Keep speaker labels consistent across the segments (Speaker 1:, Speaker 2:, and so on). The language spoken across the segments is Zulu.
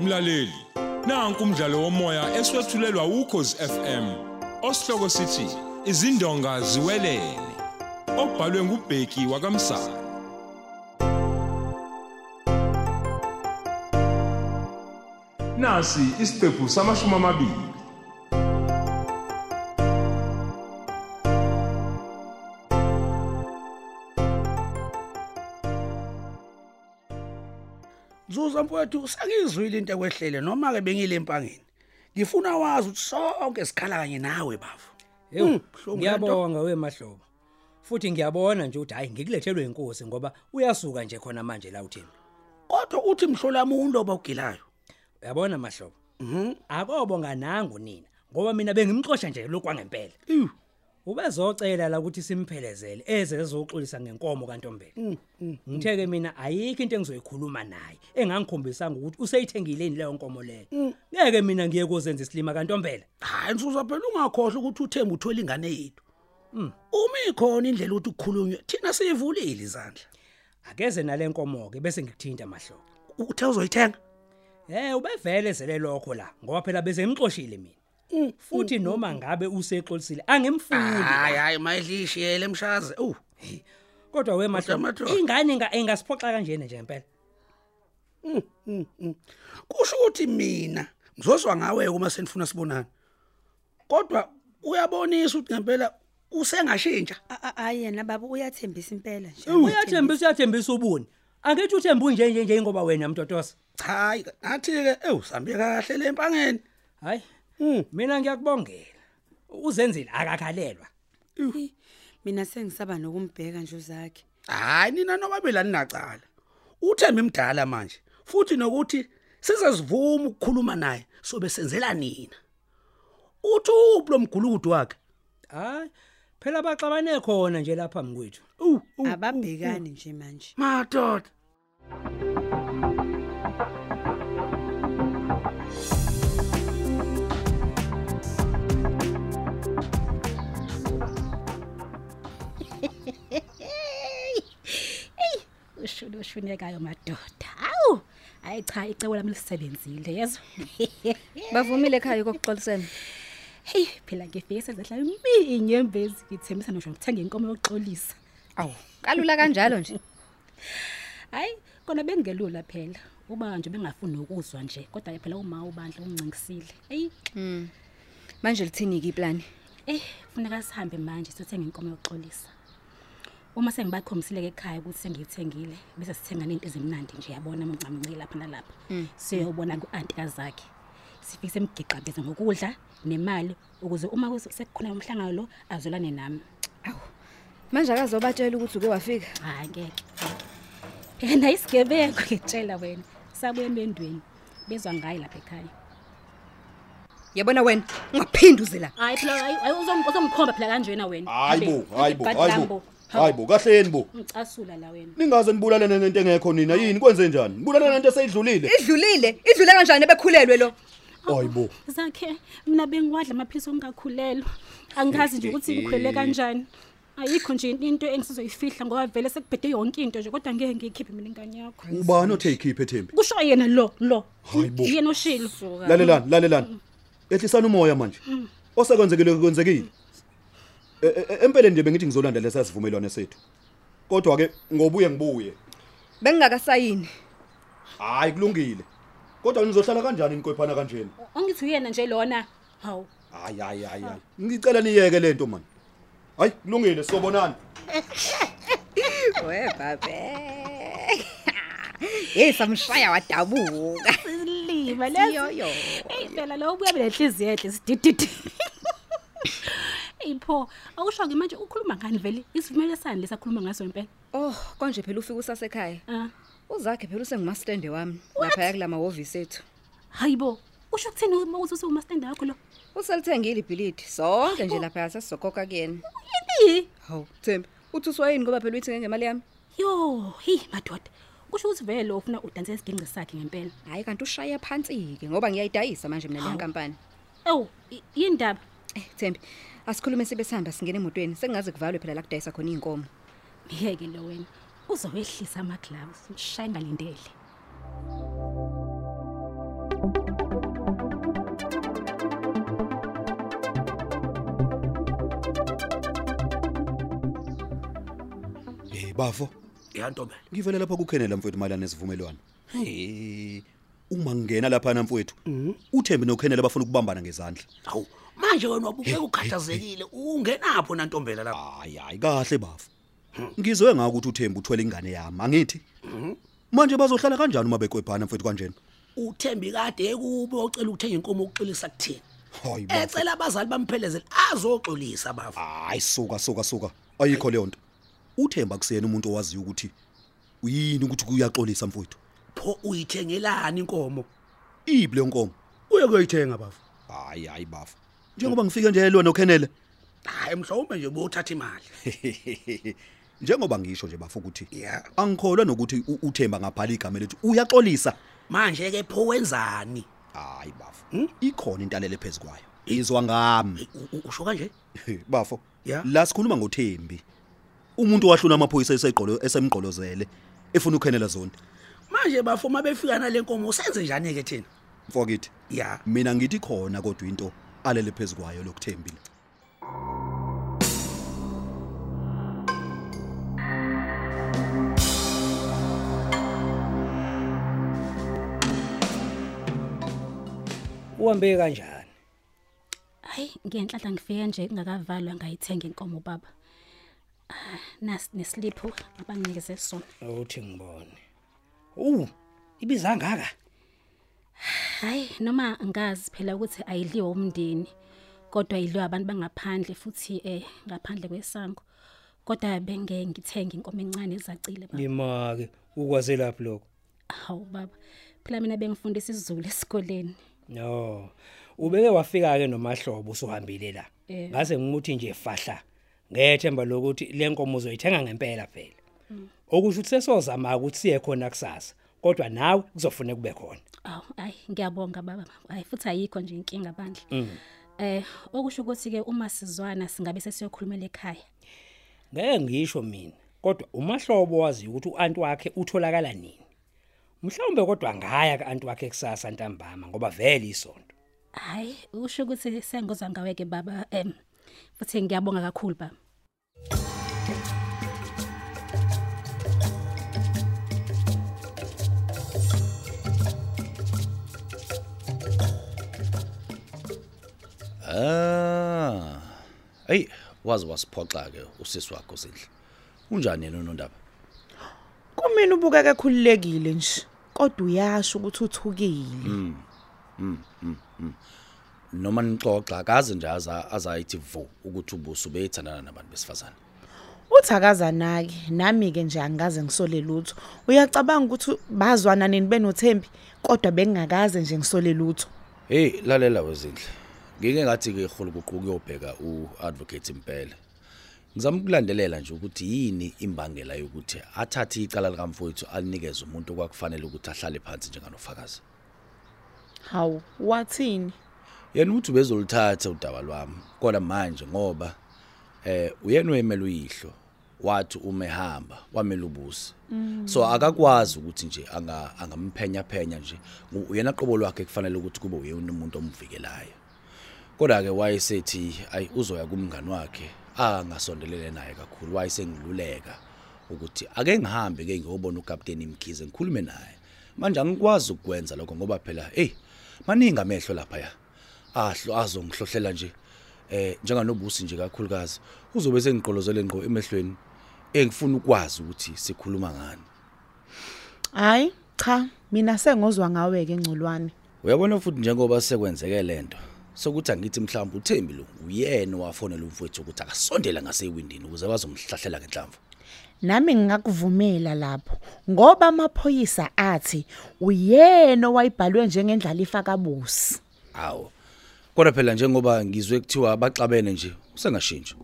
Speaker 1: mlaleli nanku umdlalo womoya eswetshulelwa ukhozi FM osihloko sithi izindonga ziwelele obhalwe ngubheki wakamsana nasi isiqephu samashumi amabili
Speaker 2: Zuza mfowethu sakizwile into ekwehlele noma ke bengile empangeni. Ngifuna wazi ukuthi sonke sikhala kanye nawe bafo.
Speaker 3: Hey,
Speaker 2: buhlungu
Speaker 3: Mm, ngiyabonga wemahlobo. Futhi ngiyabona nje ukuthi hayi ngikulethelwe inkosi ngoba uyasuka nje khona manje la uthini.
Speaker 2: Kodwa uthi mhlola umuntu obawugilayo.
Speaker 3: Uyabona mahlobo. Mhm. Akobonga nangu nina ngoba mina bengimxosha nje lokwangempela.
Speaker 2: Ew.
Speaker 3: Ubezocela la ukuthi simphelezele eze ezoxolisa
Speaker 2: Mm,
Speaker 3: ngenkomo kantombela. Ngitheke mina ayikho into engizoyikhuluma naye engangikhombisanga ukuthi useyithengile leyo nkomo
Speaker 2: Mm.
Speaker 3: leyo. Ngeke mina ngiye kuzenza isilima kantombela.
Speaker 2: Hayi Zuza phela ungakhohle ukuthi uThembu uthola ingane yethu. Mm. Uma ikhona indlela ukuthi ukukhulunywe thina siyivulile izandla.
Speaker 3: Akeze nalenkomo ke bese ngikuthinta mahlobo.
Speaker 2: Uthe uzoyithenga?
Speaker 3: Eh ubevele zele lokho la ngoba phela bese imxoshile
Speaker 4: Mm,
Speaker 3: mina. Futhi noma ngabe usexolisile angimfuni.
Speaker 2: Hayi hayi mayidlishiyele emshaze. Uh.
Speaker 3: Kodwa
Speaker 2: Kodwa,
Speaker 3: wemathola
Speaker 2: Madlo-
Speaker 3: ingane inga engasiphoxa kanjena nje impela.
Speaker 2: Kusho ukuthi mina ngizozwa ngawe uma senifuna sibonane. Kodwa uyabonisa ukuthi ngempela usengashintsha.
Speaker 5: A- a- Ayi yena baba uyathembisa impela nje.
Speaker 3: Uyathembisa uyathembisa ubuni. Angithi uthembu nje nje nje ngoba wena mtotosa.
Speaker 2: Cha, hayi, ngathi ke ewu sambe kahle Hmm, lempangeni.
Speaker 3: Hayi. Mina ngiyakubongela. Uzenzile akakhalelwa.
Speaker 5: Hi, Mina sengisaba nokumbheka nje uzakhe.
Speaker 2: Hayi nina noma belani nacala. Uthemba imdala manje. Futhi nokuthi sizazivuma ukukhuluma naye sobe senzela nina. Uthi uphi lo mgulukudu wakhe?
Speaker 3: Hayi. Phela baxabane khona nje lapha mkwethu.
Speaker 2: U u-
Speaker 5: Ababhekani nje manje.
Speaker 2: madoda.
Speaker 6: ushuni ushunekayo madoda hawu hayi cha icebo lami lisebenzile yezo
Speaker 7: bavumile ekhaya kokuxolisana
Speaker 6: heyi phela ngifike sezehla miinyembezi ngithembisa nosho ngithenga inkomo yokuxolisa
Speaker 7: awu kalula kanjalo nje
Speaker 6: hhayi kona bengelula phela uba nje bengafuni ukuzwa nje kodwa-ke phela uma ubandla ungincingisile eyi
Speaker 7: manje lithini-ke iplani
Speaker 6: eyi kufuneka sihambe manje siyothenga inkomo yokuxolisa uma sengibakhombisile-ke ekhaya ukuthi sengiyithengile bese sithenga ney'nto ezimnandi nje yabona mncamnci lapha nalapha
Speaker 7: Hmm.
Speaker 6: siyobona ku-antika zakhe sifike semgiqabheze ngokudla nemali ukuze uma kuze- sekukhona umhlangano lo azolane nami
Speaker 7: manje akazobatshela ukuthi uke wafika
Speaker 6: hayi ngeke ngeke. yena isigebengu ngitshela Eh, wena sabuye emendweni bezwa ngayo lapha ekhaya
Speaker 7: yabona wena ungaphinde uze la
Speaker 6: hayi phela hayi, hayi, uzong- uzongikhomba phela kanjena wena
Speaker 8: hayi
Speaker 6: Abe-
Speaker 8: bo hayi bo
Speaker 6: Bhadi
Speaker 8: hayi
Speaker 6: lambo.
Speaker 8: bo hayi bo kahleni bo
Speaker 6: ungicasula la wena
Speaker 8: ningaze nibulalane nento engekho nina yini kwenze njani nibulalane nento eseyidlulile
Speaker 7: idlulile idlule kanjani ebekhulelwe lo
Speaker 8: hayi bo
Speaker 6: zakhe mina bengiwadla amaphilisi ongakhulelwa angazi nje ukuthi
Speaker 8: Eh,
Speaker 6: ngikhulele kanjani ayikho nje into engisizoyifihla ngoba vele sekubhede yonke into nje kodwa ngeke ngiyikhiphe mina ingane yakho
Speaker 8: ubani othe ikhiphe thembi
Speaker 6: kusho yena lo lo
Speaker 8: Hayi bo.
Speaker 6: yena oshilo
Speaker 8: lalelani lalelani ehlisana umoya manje osekwenzekile kwenzekile E- e- e- empeleni nje bengithi ngizolanda lesa sivumelwano sethu kodwa ke ngobuye ngibuye
Speaker 7: bengingakasayini
Speaker 8: hayi kulungile kodwa nizohlala kanjani nikwephana kanjena
Speaker 6: angithi uyena nje lona hawu
Speaker 8: hayi hayi hayi hayi. ngicela niyeke lento mani hayi kulungile sobonani
Speaker 7: we babe yeyi samshaya wadabuka
Speaker 6: silima leyo eyi phela lo ubuya belenhliziyo enhle sidididi eyi pho akusho-ke manje ukhuluma ngani vele isivumelesane lesakhuluma ngaso impela
Speaker 7: oh konje phela ufika usasekhaya
Speaker 6: um
Speaker 7: uzakhe phela usengumastende wami laphaya kula mahhovisi ethu
Speaker 6: hayi bo usho kutheni ukuthi usewumastenda wakho lo
Speaker 7: uselithengile ibhilidi sonke nje laphaya sesizokoka kuyena
Speaker 6: yini
Speaker 7: hawu thembi uthi uswayini ngoba phela uyithenge ngemali yami
Speaker 6: yo heyi madoda kusho ukuthi vele lo ufuna udanse isigingqi sakhe ngempela
Speaker 7: hayi kanti ushaye phansi-ke ngoba ngiyayidayisa manje mina
Speaker 6: Hawu.
Speaker 7: leya nkampani
Speaker 6: ewu i- yini ndaba
Speaker 7: Eh Thembi, asikhulume sibe sihamba singena emotweni. Sengaze kuvalwe phela la kudayisa khona inkomo.
Speaker 6: ngiyeke lo wena uzowehlisa amaglavu shaye ngalindele
Speaker 8: bafo
Speaker 4: yantombela
Speaker 8: ngivele lapha kukhenela mfowethu mayelana nesivumelwano hey uma ngingena lapha na mfowethu uthembi nokhenela bafuna ukubambana ngezandla
Speaker 4: hawu manje wena wabukeka ukhathazekile ungenapho nantombela lapha
Speaker 8: hayi hayi kahle bafo ngizwe ngako ukuthi uthembi uthwele ingane yami angithi manje bazohlala kanjani uma bekwephana mfowethu kanjena
Speaker 4: uthembi kade ekube ocela ukuthenga inkomo ukuxolisa kuthina
Speaker 8: hayi bafo
Speaker 4: ecela abazali bamphelezele azoxolisa bafo
Speaker 8: hayi suka suka suka ayikho leyo nto uthemba kusiyena umuntu owaziyo ukuthi uyini ukuthi kuyaxolisa mfowethu
Speaker 4: pho uyithengelani inkomo
Speaker 8: ibi leyo nkomo
Speaker 4: uye kuyoyithenga bafo
Speaker 8: hayi hayi bafo njengoba ngifike nje elwa nokhenele
Speaker 4: hayi mhlawumbe nje bothatha imali
Speaker 8: njengoba ngisho nje bafo ukuthi
Speaker 4: ya
Speaker 8: angikholwa nokuthi u- uthemba ngabhala igama lethu uyaxolisa
Speaker 4: manje ke pho wenzani
Speaker 8: hayi bafo Hmm? ikhona intalelo phezu kwayo izwa ngami
Speaker 4: U- u- usho kanje
Speaker 8: bafo
Speaker 4: Ya.
Speaker 8: la sikhuluma ngothembi umuntu wahluna amaphoyisa esegqolo esemgqolozele efuna ukhenela zonke
Speaker 4: manje bafo uma befika nale nkomo senze njani ke thina
Speaker 8: mfokithi
Speaker 4: ya
Speaker 8: mina ngithi khona kodwa into alele phezu kwayo lokuthembile
Speaker 3: uhambe kanjani
Speaker 6: hayi ngiyenhlanhla ngifike nje kungakavalwa ngayithenga inkomo baba Ah, nasi nesilipho abanginikeze sona
Speaker 3: awuthi ngibone u ibiza ngaka
Speaker 6: hayi noma ngazi phela ukuthi ayidliwa umndeni kodwa idliwa abantu bangaphandle futhi eh ngaphandle kwesango kodwa benge ngithenga inkomo encane ezacile baba
Speaker 3: limake ukwaze lapho lokho
Speaker 6: hawu baba phela mina bengifundisa isiZulu esikoleni
Speaker 3: no ubeke wafika ke nomahlobo usuhambile la ngase ngimuthi nje fahla ngethemba lokuthi lenkomo uzoyithenga ngempela phela okusho ukuthi sesozama ukuthi siye khona kusasa kodwa nawe kuzofuneka kube khona
Speaker 6: aw ayi ngiyabonga baba ayi futhi ayikho nje inkinga bandla eh okusho ukuthi ke uma sizwana singabe sesiyokhulumela ekhaya
Speaker 3: ngeke ngisho mina kodwa umahlobo wazi ukuthi uanti wakhe utholakala nini mhlawumbe kodwa ngaya kaanti wakhe kusasa ntambama ngoba vele isonto
Speaker 6: hayi usho ukuthi sengozwa ngawe ke baba em futhi ngiyabonga kakhulu baba
Speaker 2: Ah. Hey, wazi wasiphoxa ke usisi wakho sindle. Unjani yena unondaba?
Speaker 9: kumina ubukeka khululekile nje kodwa uyasho ukuthi uthukile
Speaker 2: Mm, Noma nixoxa akaze nje aza azayithi vu ukuthi ubuso beyithandana nabantu besifazane.
Speaker 9: uthi akazanaki nami-ke nje angikaze ngisole lutho uyacabanga ukuthi bazwana nini benothembi kodwa bengingakaze nje ngisole lutho
Speaker 2: Hey, lalela wezindle. Ngike ngathi ke iholo kuquka uyobheka uadvocate impela. Ngizama ukulandelela nje ukuthi yini imbangela yokuthi athathe icala likamfowethu alinikeze umuntu okwakufanele ukuthi ahlale phansi njenganofakazi.
Speaker 9: hawu wathini
Speaker 2: yena uthi bezoluthatha udaba lwami kodwa manje ngoba eh uyena wemela uyihlo wathi uma ehamba wamela ubusi so akakwazi ukuthi nje anga angamphenya phenya nje U- uyena qobo lwakhe kufanele ukuthi kube uyena umuntu omvikelayo kodwa ke wayesethi ayi uzoya kumngani wakhe angasondelele naye kakhulu wayesengiluleka ukuthi ake ngihambe ke ngiyobona ukapteni Mkhize ngikhulume naye manje angikwazi ukukwenza lokho ngoba phela hey maningi amehlo lapha ya ahlo azongihlohlela nje eh njenganobusi nje kakhulukazi uzobe sengiqolozele ngqo emehlweni engifuna ukwazi ukuthi sikhuluma ngani
Speaker 9: hhayi cha mina sengozwa ngawe-ke ngcolwane
Speaker 2: uyabona futhi njengoba sekwenzeke lento sokuthi angithi mhlawumbe uThembi lo uyena wafonela umfowethu ukuthi akasondela ngasewindini ukuze bazomhlahlela ngenhlamvu
Speaker 9: nami ngingakuvumela lapho ngoba amaphoyisa athi uyena owayibhalwe njengendlalifa kabusi
Speaker 2: Awu. Kodwa phela njengoba ngizwe kuthiwa baxabene nje, usengashintsha.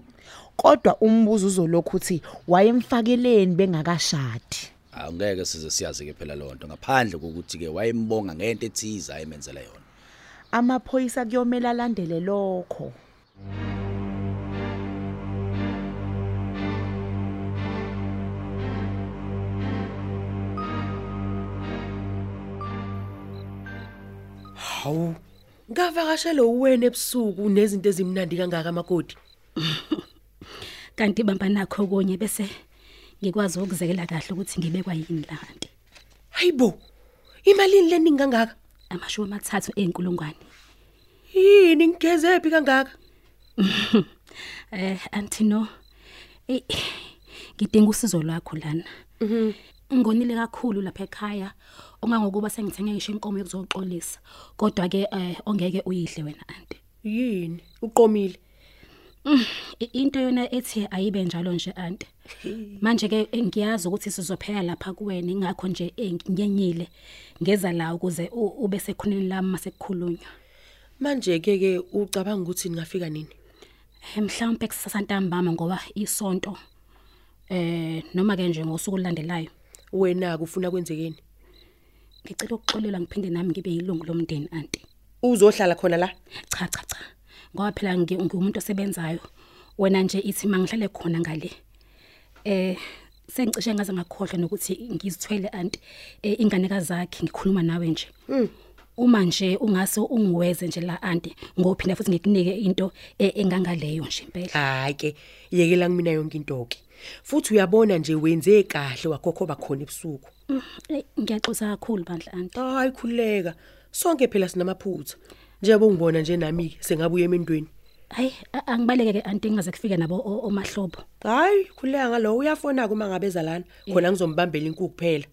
Speaker 9: kodwa umbuzo uzolokhu uthi wayemfakeleni bengakashadi
Speaker 2: Awungeke size siyazi ke phela lonto ngaphandle kokuthi ke wayembonga ngento ethiza ayemenzela yona.
Speaker 9: amaphoyisa kuyomela alandele lokho
Speaker 10: Hawu. Ngavakashele uwena ebusuku nezinto ezimnandi kangaka makoti.
Speaker 6: kanti bamba nakho konye bese ngikwazi ukuzekela kahle ukuthi ngibekwa yini la kanti
Speaker 3: hayibo imalini leningi kangaka
Speaker 6: amashumi amathathu einkulungwane
Speaker 3: yini ngigezephi kangaka
Speaker 6: eh anti no Eh, ngidinga usizo lwakho lana
Speaker 3: Mhm.
Speaker 6: ngonile kakhulu lapha ekhaya ongangokuba sengithenge ngisho inkomo yokuzoxolisa kodwa ke eh, ongeke uyihle wena anti
Speaker 3: yini uqomile
Speaker 6: Mm, i- into yona ethi ayibe njalo nje anti manje ke eh, ngiyazi ukuthi sizophela lapha kuwena ingakho nje eh, nginyenyile ngeza la ukuze u- ube sekhoneni lami masekukhulunywa
Speaker 3: manje ke ke ucabanga ukuthi ningafika nini
Speaker 6: mhlawumbe Eh, kusasa ntambama ngoba isonto eh noma ke nje ngosuku olulandelayo
Speaker 3: wena ufuna kwenzekeni
Speaker 6: ngicela ukuxolelwa ngiphinde nami ngibe yilungu lomndeni anti
Speaker 3: uzohlala khona la
Speaker 6: cha cha cha ngoba phela ngi- ngiwumuntu osebenzayo wena nje ithi mangihlale khona ngale eh sengicishe ngaze ngakhohlwa nokuthi ngizithwele anti eh, inganekazi zakhe ngikhuluma nawe nje
Speaker 3: Hmm.
Speaker 6: uma nje ungase ungiweze nje la anti ngophinda futhi ngikunike into eh, engangaleyo nje impela
Speaker 3: hayi ke yekela kumina yonke into ke futhi uyabona nje wenze kahle wakhokhoba khona ebusuku
Speaker 6: Mm, eh, ngiyaxosa kakhulu bandla anti
Speaker 3: hayi khululeka sonke phela sinamaphutha njengoba ungibona nje nami ke sengabuye emendweni
Speaker 6: hayi a- angibaleke ke anti ngingaze kufike nabo o- omahlobo
Speaker 3: hayi khululeka ngalowo uyafona kuma ngabeza lana khona ngizombambela inkukhu kuphela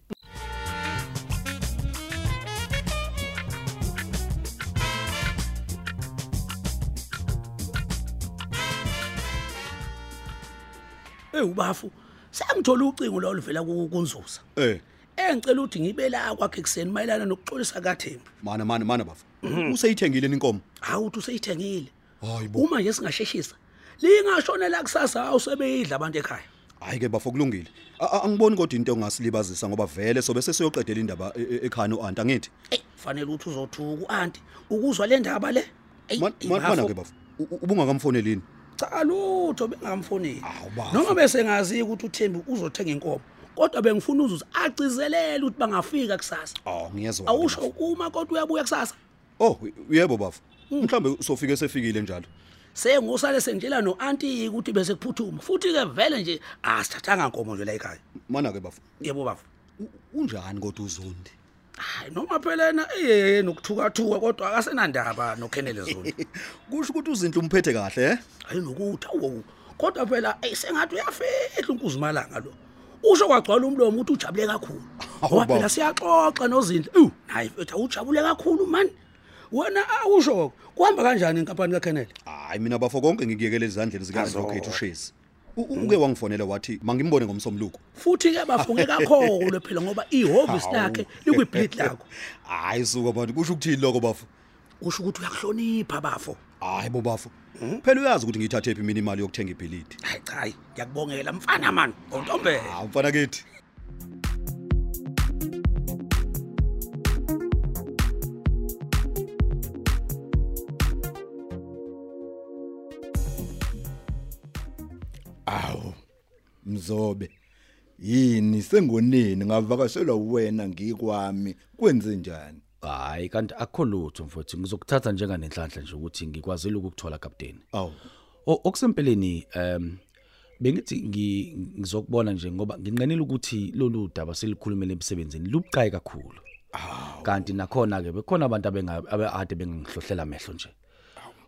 Speaker 2: Ey ubafu, sengithola ucingo lo oluvela ku- kunzuza.
Speaker 8: Eh,
Speaker 2: Engicela ukuthi ngibe la kwakhe kuseni mayelana nokuxolisa kaThembi.
Speaker 8: mana mana mana bafu.
Speaker 4: Mhm.
Speaker 8: Useyithengile inkomo.
Speaker 2: Hawu uthi useyithengile.
Speaker 8: Hayibo.
Speaker 2: Uma nje singasheshisa. Lingashone la kusasa hawu sebeyidla abantu ekhaya.
Speaker 8: Hayi ke bafu kulungile. A- a- Angiboni kodwa into ongasilibazisa ngoba vele sobe sesiyoqedela indaba e- e- ekhaya noAnti angithi.
Speaker 2: Kufanele ukuthi uzothuka uanti ukuzwa le ndaba le. Eyi,
Speaker 8: Ma- ma-
Speaker 2: bafu.
Speaker 8: Mana ke bafu. U- u- Ubungakamfonelini.
Speaker 2: Cha lutho bengamfoneli. Noma bese ngazi ukuthi uThembi uzothenga inkomo. Kodwa bengifuna uzuze acizelele ukuthi bangafika kusasa.
Speaker 8: Oh, ngiyezwa.
Speaker 2: Awusho uma kodwa uyabuya kusasa.
Speaker 8: Oh, yebo bafu. Mhlambe sofike sefikile njalo.
Speaker 2: Sengusale sengitshela noanti ukuthi bese kuphuthuma. Futhi ke vele nje asithathanga inkomo nje la ekhaya.
Speaker 8: Mana ke bafu.
Speaker 2: Yebo bafu.
Speaker 8: Unjani kodwa uzondi?
Speaker 2: Hayi noma phela yena eyeye nokuthukathuka kodwa akasenandaba noKhenele Zulu.
Speaker 8: Kusho ukuthi uzinhle umphethe kahle, eh?
Speaker 2: Hayi nokuthi awu. Kodwa phela ey sengathi uyafihla unkuzimalanga lo. Usho kwagcwala umlomo ukuthi ujabule kakhulu.
Speaker 8: Hawu,
Speaker 2: Ngoba phela
Speaker 8: baba.
Speaker 2: siyaxoxa nozinhle. Ew, hayi mfethu awujabule kakhulu man. Wena awusho kuhamba kanjani inkampani kaKhenele?
Speaker 8: Hayi mina bafo konke ngikuyekele ezandleni zikaZokhethu Shezi. U- u- Uke wangifonela wathi mangimbone ngomsomluko.
Speaker 2: Futhi ke bafunge kakhulu phela ngoba ihovisi
Speaker 8: Hawu.
Speaker 2: lakhe likwiblit lakho.
Speaker 8: Hayi suka bantu kusho ukuthini lokho bafo?
Speaker 2: Kusho ukuthi uyakuhlonipha bafo.
Speaker 8: Hayi bo bafo. Phela uyazi ukuthi ngiyithathe phi mina imali yokuthenga ibhilidi.
Speaker 2: Hayi cha, hayi, ngiyakubongela mfana man. Ntombe.
Speaker 8: Hawu mfana kithi.
Speaker 11: Awu. Mzobe. Yini sengonini ngavakashelwa uwena ngikwami kwenze njani?
Speaker 12: Hayi kanti akho lutho mfowethu ngizokuthatha njenganenhlanhla nje ukuthi ngikwazile ukukuthola captain.
Speaker 8: Awu.
Speaker 12: Okusempeleni em bengithi ngi- ngizokubona nje ngoba nginqenela ukuthi lolu daba selikhulumele emsebenzini lubuqhayi kakhulu. Kanti nakhona ke bekhona abantu abengabe ade bengihlohlela amehlo nje.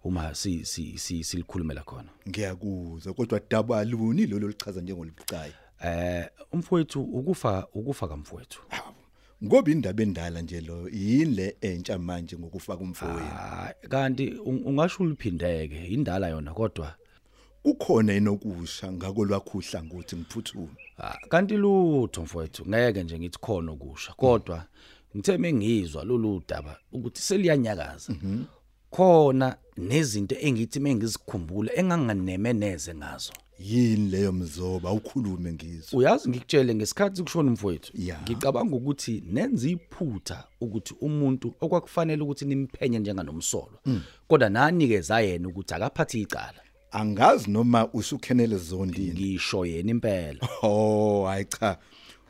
Speaker 12: Uma si si si silikhulumela khona.
Speaker 11: Ngiyakuzwa kodwa daba luni lolu lichaza njengolubucayi.
Speaker 12: Eh umfowethu ukufa ukufa kamfowethu.
Speaker 11: Ngoba indaba endala nje lo yini le entsha manje ngokufaka umfowenu.
Speaker 12: Kanti un- ungasho uliphindeke indala yona kodwa
Speaker 11: kukhona enokusha ngako lwakhuhla ngothi ngiphuthume.
Speaker 12: Ah, kanti lutho mfowethu ngeke nje ngithi khona okusha kodwa ngithe mengizwa lolu daba ukuthi seliyanyakaza khona nezinto engithi mengizikhumbula enganganemeneze ngazo
Speaker 11: Yini leyo mzoba awukhulume ngizwe.
Speaker 12: uyazi ngikutshele ngesikhathi kushona umfowethu
Speaker 11: Ya.
Speaker 12: ngicabanga ukuthi nenza iphutha ukuthi umuntu okwakufanele ukuthi nimphenye njenganomsolo
Speaker 11: Mm.
Speaker 12: kodwa nanikeza yena ukuthi akaphathi icala
Speaker 11: Angazi noma usukhenele zondini.
Speaker 12: Ngisho yena impela.
Speaker 11: Oh, hayi cha.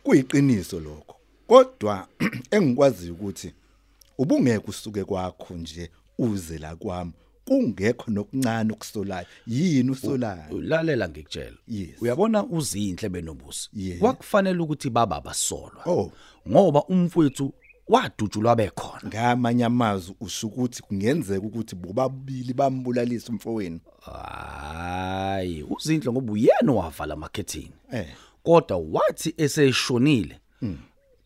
Speaker 11: Kuyiqiniso lokho. Kodwa engikwazi ukuthi ubungeke usuke kwakho nje uze la kwami
Speaker 8: kungekho nokuncane ukusolayo yini usolayo
Speaker 2: ulalela ngikutshela uyabona uzinhle benobusi kwakufanele ukuthi baba basolwa ngoba umfowethu wadutshulwa bekhona
Speaker 8: ngamanye amazwi usukuthi kungenzeka ukuthi bobabili bambulalisa umfowenu
Speaker 2: hayi uzinhle ngoba uyena wavala amakhethini
Speaker 8: Eh.
Speaker 2: kodwa wathi eseshonile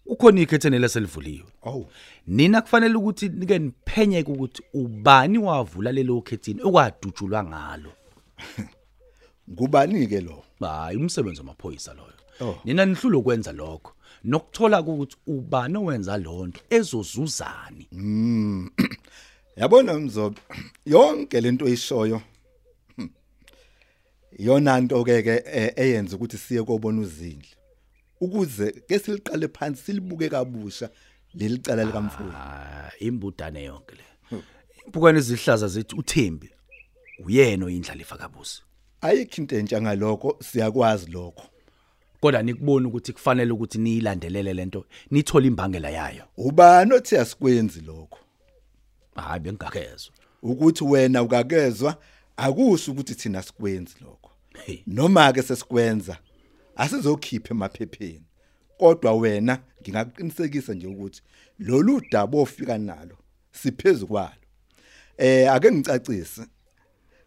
Speaker 2: ukhona ikhethene leselivuliwe
Speaker 8: awu
Speaker 2: nina kufanele ukuthi nike niphenyeke ukuthi ubani wavula lelo khethini okwadutshulwa ngalo
Speaker 8: ngubani ke lo
Speaker 2: hayi umsebenzi wamaphoyisa loyo nina nihlulo kwenza lokho nokuthola ukuthi ubani owenza lonto ezozuzani
Speaker 8: Mm. Yabona Mzobo, yonke lento oyishoyo hmm, yona into ke ke eh, eyenza ukuthi siye kobona uzindle. Ukuze ke siliqale phansi silibuke kabusha lelicala likamfowethu.
Speaker 2: Ah, imbudane yonke le. Impukane izihlaza zithi uThembi uyena oyindlalifa kabusi.
Speaker 8: Ayikho into entsha ngalokho siyakwazi lokho.
Speaker 2: Kodwa nikubona ukuthi kufanele ukuthi niyilandelele lento, nithola imbangela yayo.
Speaker 8: Ubani othi asikwenzi lokho?
Speaker 2: Hayi bengakezwe.
Speaker 8: Ukuthi wena ukakezwa akusho ukuthi thina sikwenzi lokho. Noma ke sesikwenza asizokhipha emaphepheni. Kodwa wena ngingakuqinisekisa nje ukuthi lolu dabo ofika nalo siphezulu kwalo. Eh ake ngicacise.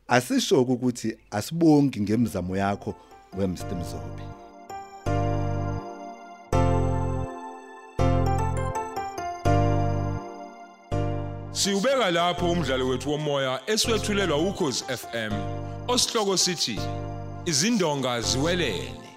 Speaker 8: Asisho ukuthi asibongi ngemizamo yakho wemstimzobe.
Speaker 1: Siubeka lapho umdlalo wethu womoya eswetshulelwa ukhozi FM. Osihloko sithi izindonga ziwelele.